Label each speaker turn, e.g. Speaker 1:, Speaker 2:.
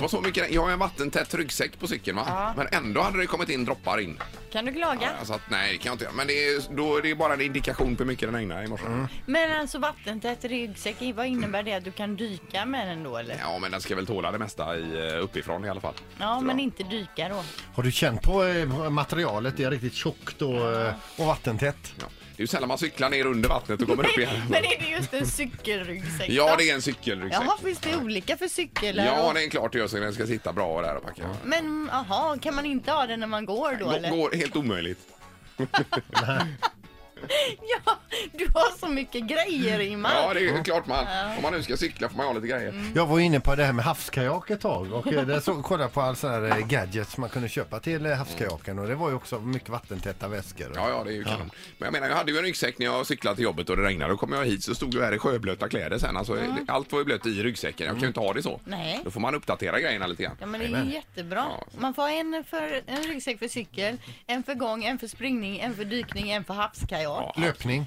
Speaker 1: var så mycket regn. Jag har en vattentät ryggsäck på cykeln va?
Speaker 2: Ja.
Speaker 1: Men ändå hade det kommit in droppar in.
Speaker 2: Kan du klaga?
Speaker 1: Alltså att, nej, det kan jag inte göra. Men det är, då är det bara en indikation på hur mycket den regnade i morse.
Speaker 2: Men alltså vattentät ryggsäck, vad innebär det? Att du kan dyka med den då eller?
Speaker 1: Ja, men den ska väl tåla det mesta i, eh, uppifrån i alla fall.
Speaker 2: Ja,
Speaker 1: Tror
Speaker 2: men
Speaker 1: jag.
Speaker 2: inte dyka då.
Speaker 3: Har du känt på eh, materialet? Det är riktigt tjockt och, eh, och vattentätt.
Speaker 1: Ja. Det är ju sällan man cyklar ner under vattnet och kommer upp igen.
Speaker 2: Men är det just en cykelryggsäck
Speaker 1: Ja,
Speaker 2: då?
Speaker 1: det är en cykelryggsäck.
Speaker 2: Jaha, finns det olika för cyklar?
Speaker 1: Ja,
Speaker 2: och-
Speaker 1: det är klart det gör så. Den ska sitta bra där och packa.
Speaker 2: Men aha, kan man inte ha den när man går då eller?
Speaker 1: Gå- Går helt omöjligt.
Speaker 2: Ja, du har så mycket grejer i
Speaker 1: Ja,
Speaker 2: man.
Speaker 1: det är ju klart man. Om man nu ska cykla får man ju ha lite
Speaker 2: Mm.
Speaker 1: grejer.
Speaker 3: Jag var inne på det här med havskajak ett tag och eh, där så, kollade jag på all sån här eh, gadgets man kunde köpa till eh, havskajaken och det var ju också mycket vattentäta väskor.
Speaker 1: Ja, ja, det är ju kanon. Men jag menar, jag hade ju en ryggsäck när jag cyklade till jobbet och det regnade. Då kom jag hit så stod jag här i sjöblöta kläder sen. Alltså, Allt var ju blött i ryggsäcken. Jag kan ju inte ha det så.
Speaker 2: Nej.
Speaker 1: Då får man uppdatera grejerna lite grann.
Speaker 2: Ja men det är ju jättebra.
Speaker 1: Ja.
Speaker 2: Man får ha en, för, en ryggsäck för cykel, en för gång, en för springning, en för dykning, en för havskajak.
Speaker 3: Löpning.